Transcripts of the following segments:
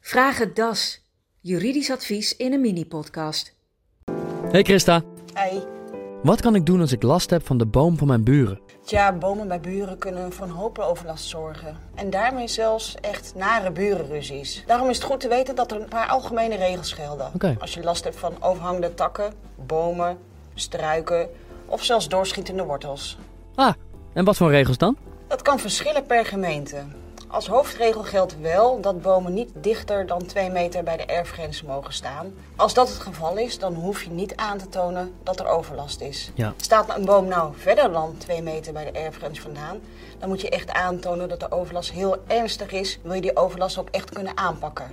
Vraag het DAS. Juridisch advies in een mini-podcast. Hey Christa, Ei. wat kan ik doen als ik last heb van de boom van mijn buren? Tja, bomen bij buren kunnen voor een hoop overlast zorgen. En daarmee zelfs echt nare burenruzies. Daarom is het goed te weten dat er een paar algemene regels gelden. Oké. Als je last hebt van overhangende takken, bomen, struiken of zelfs doorschietende wortels. Ah, en wat voor regels dan? Dat kan verschillen per gemeente. Als hoofdregel geldt wel dat bomen niet dichter dan 2 meter bij de erfgrens mogen staan. Als dat het geval is, dan hoef je niet aan te tonen dat er overlast is. Ja. Staat een boom nou verder dan 2 meter bij de erfgrens vandaan, dan moet je echt aantonen dat de overlast heel ernstig is. Wil je die overlast ook echt kunnen aanpakken?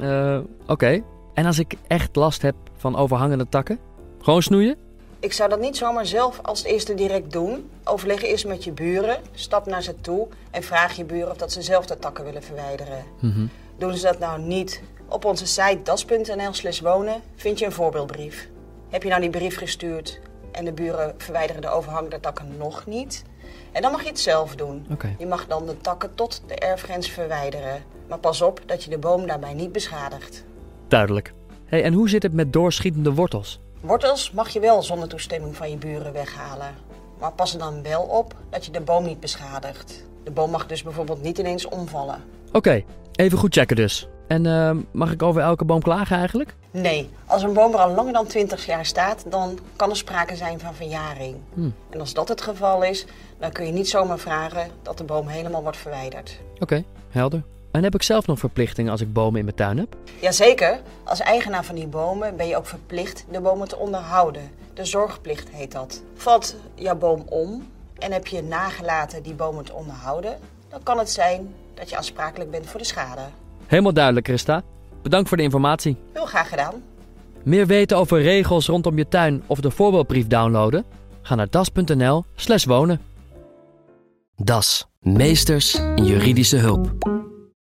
Eh, oké. En als ik echt last heb van overhangende takken? Gewoon snoeien? Ik zou dat niet zomaar zelf als eerste direct doen. Overleg eerst met je buren, stap naar ze toe en vraag je buren of dat ze zelf de takken willen verwijderen. Doen ze dat nou niet? Op onze site das.nl/slash wonen vind je een voorbeeldbrief. Heb je nou die brief gestuurd en de buren verwijderen de overhangende takken nog niet? En dan mag je het zelf doen. Oké. Je mag dan de takken tot de erfgrens verwijderen. Maar pas op dat je de boom daarbij niet beschadigt. Duidelijk. hey, en hoe zit het met doorschietende wortels? Wortels mag je wel zonder toestemming van je buren weghalen. Maar pas er dan wel op dat je de boom niet beschadigt. De boom mag dus bijvoorbeeld niet ineens omvallen. Oké, even goed checken dus. En eh, mag ik over elke boom klagen eigenlijk? Nee, als een boom er al langer dan 20 jaar staat, dan kan er sprake zijn van verjaring. En als dat het geval is, dan kun je niet zomaar vragen dat de boom helemaal wordt verwijderd. Oké, helder. En heb ik zelf nog verplichtingen als ik bomen in mijn tuin heb? Jazeker, als eigenaar van die bomen ben je ook verplicht de bomen te onderhouden. De zorgplicht heet dat. Valt jouw boom om en heb je nagelaten die bomen te onderhouden, dan kan het zijn dat je aansprakelijk bent voor de schade. Helemaal duidelijk, Christa. Bedankt voor de informatie. Heel graag gedaan. Meer weten over regels rondom je tuin of de voorbeeldbrief downloaden? Ga naar das.nl/slash wonen. Das, meesters in juridische hulp.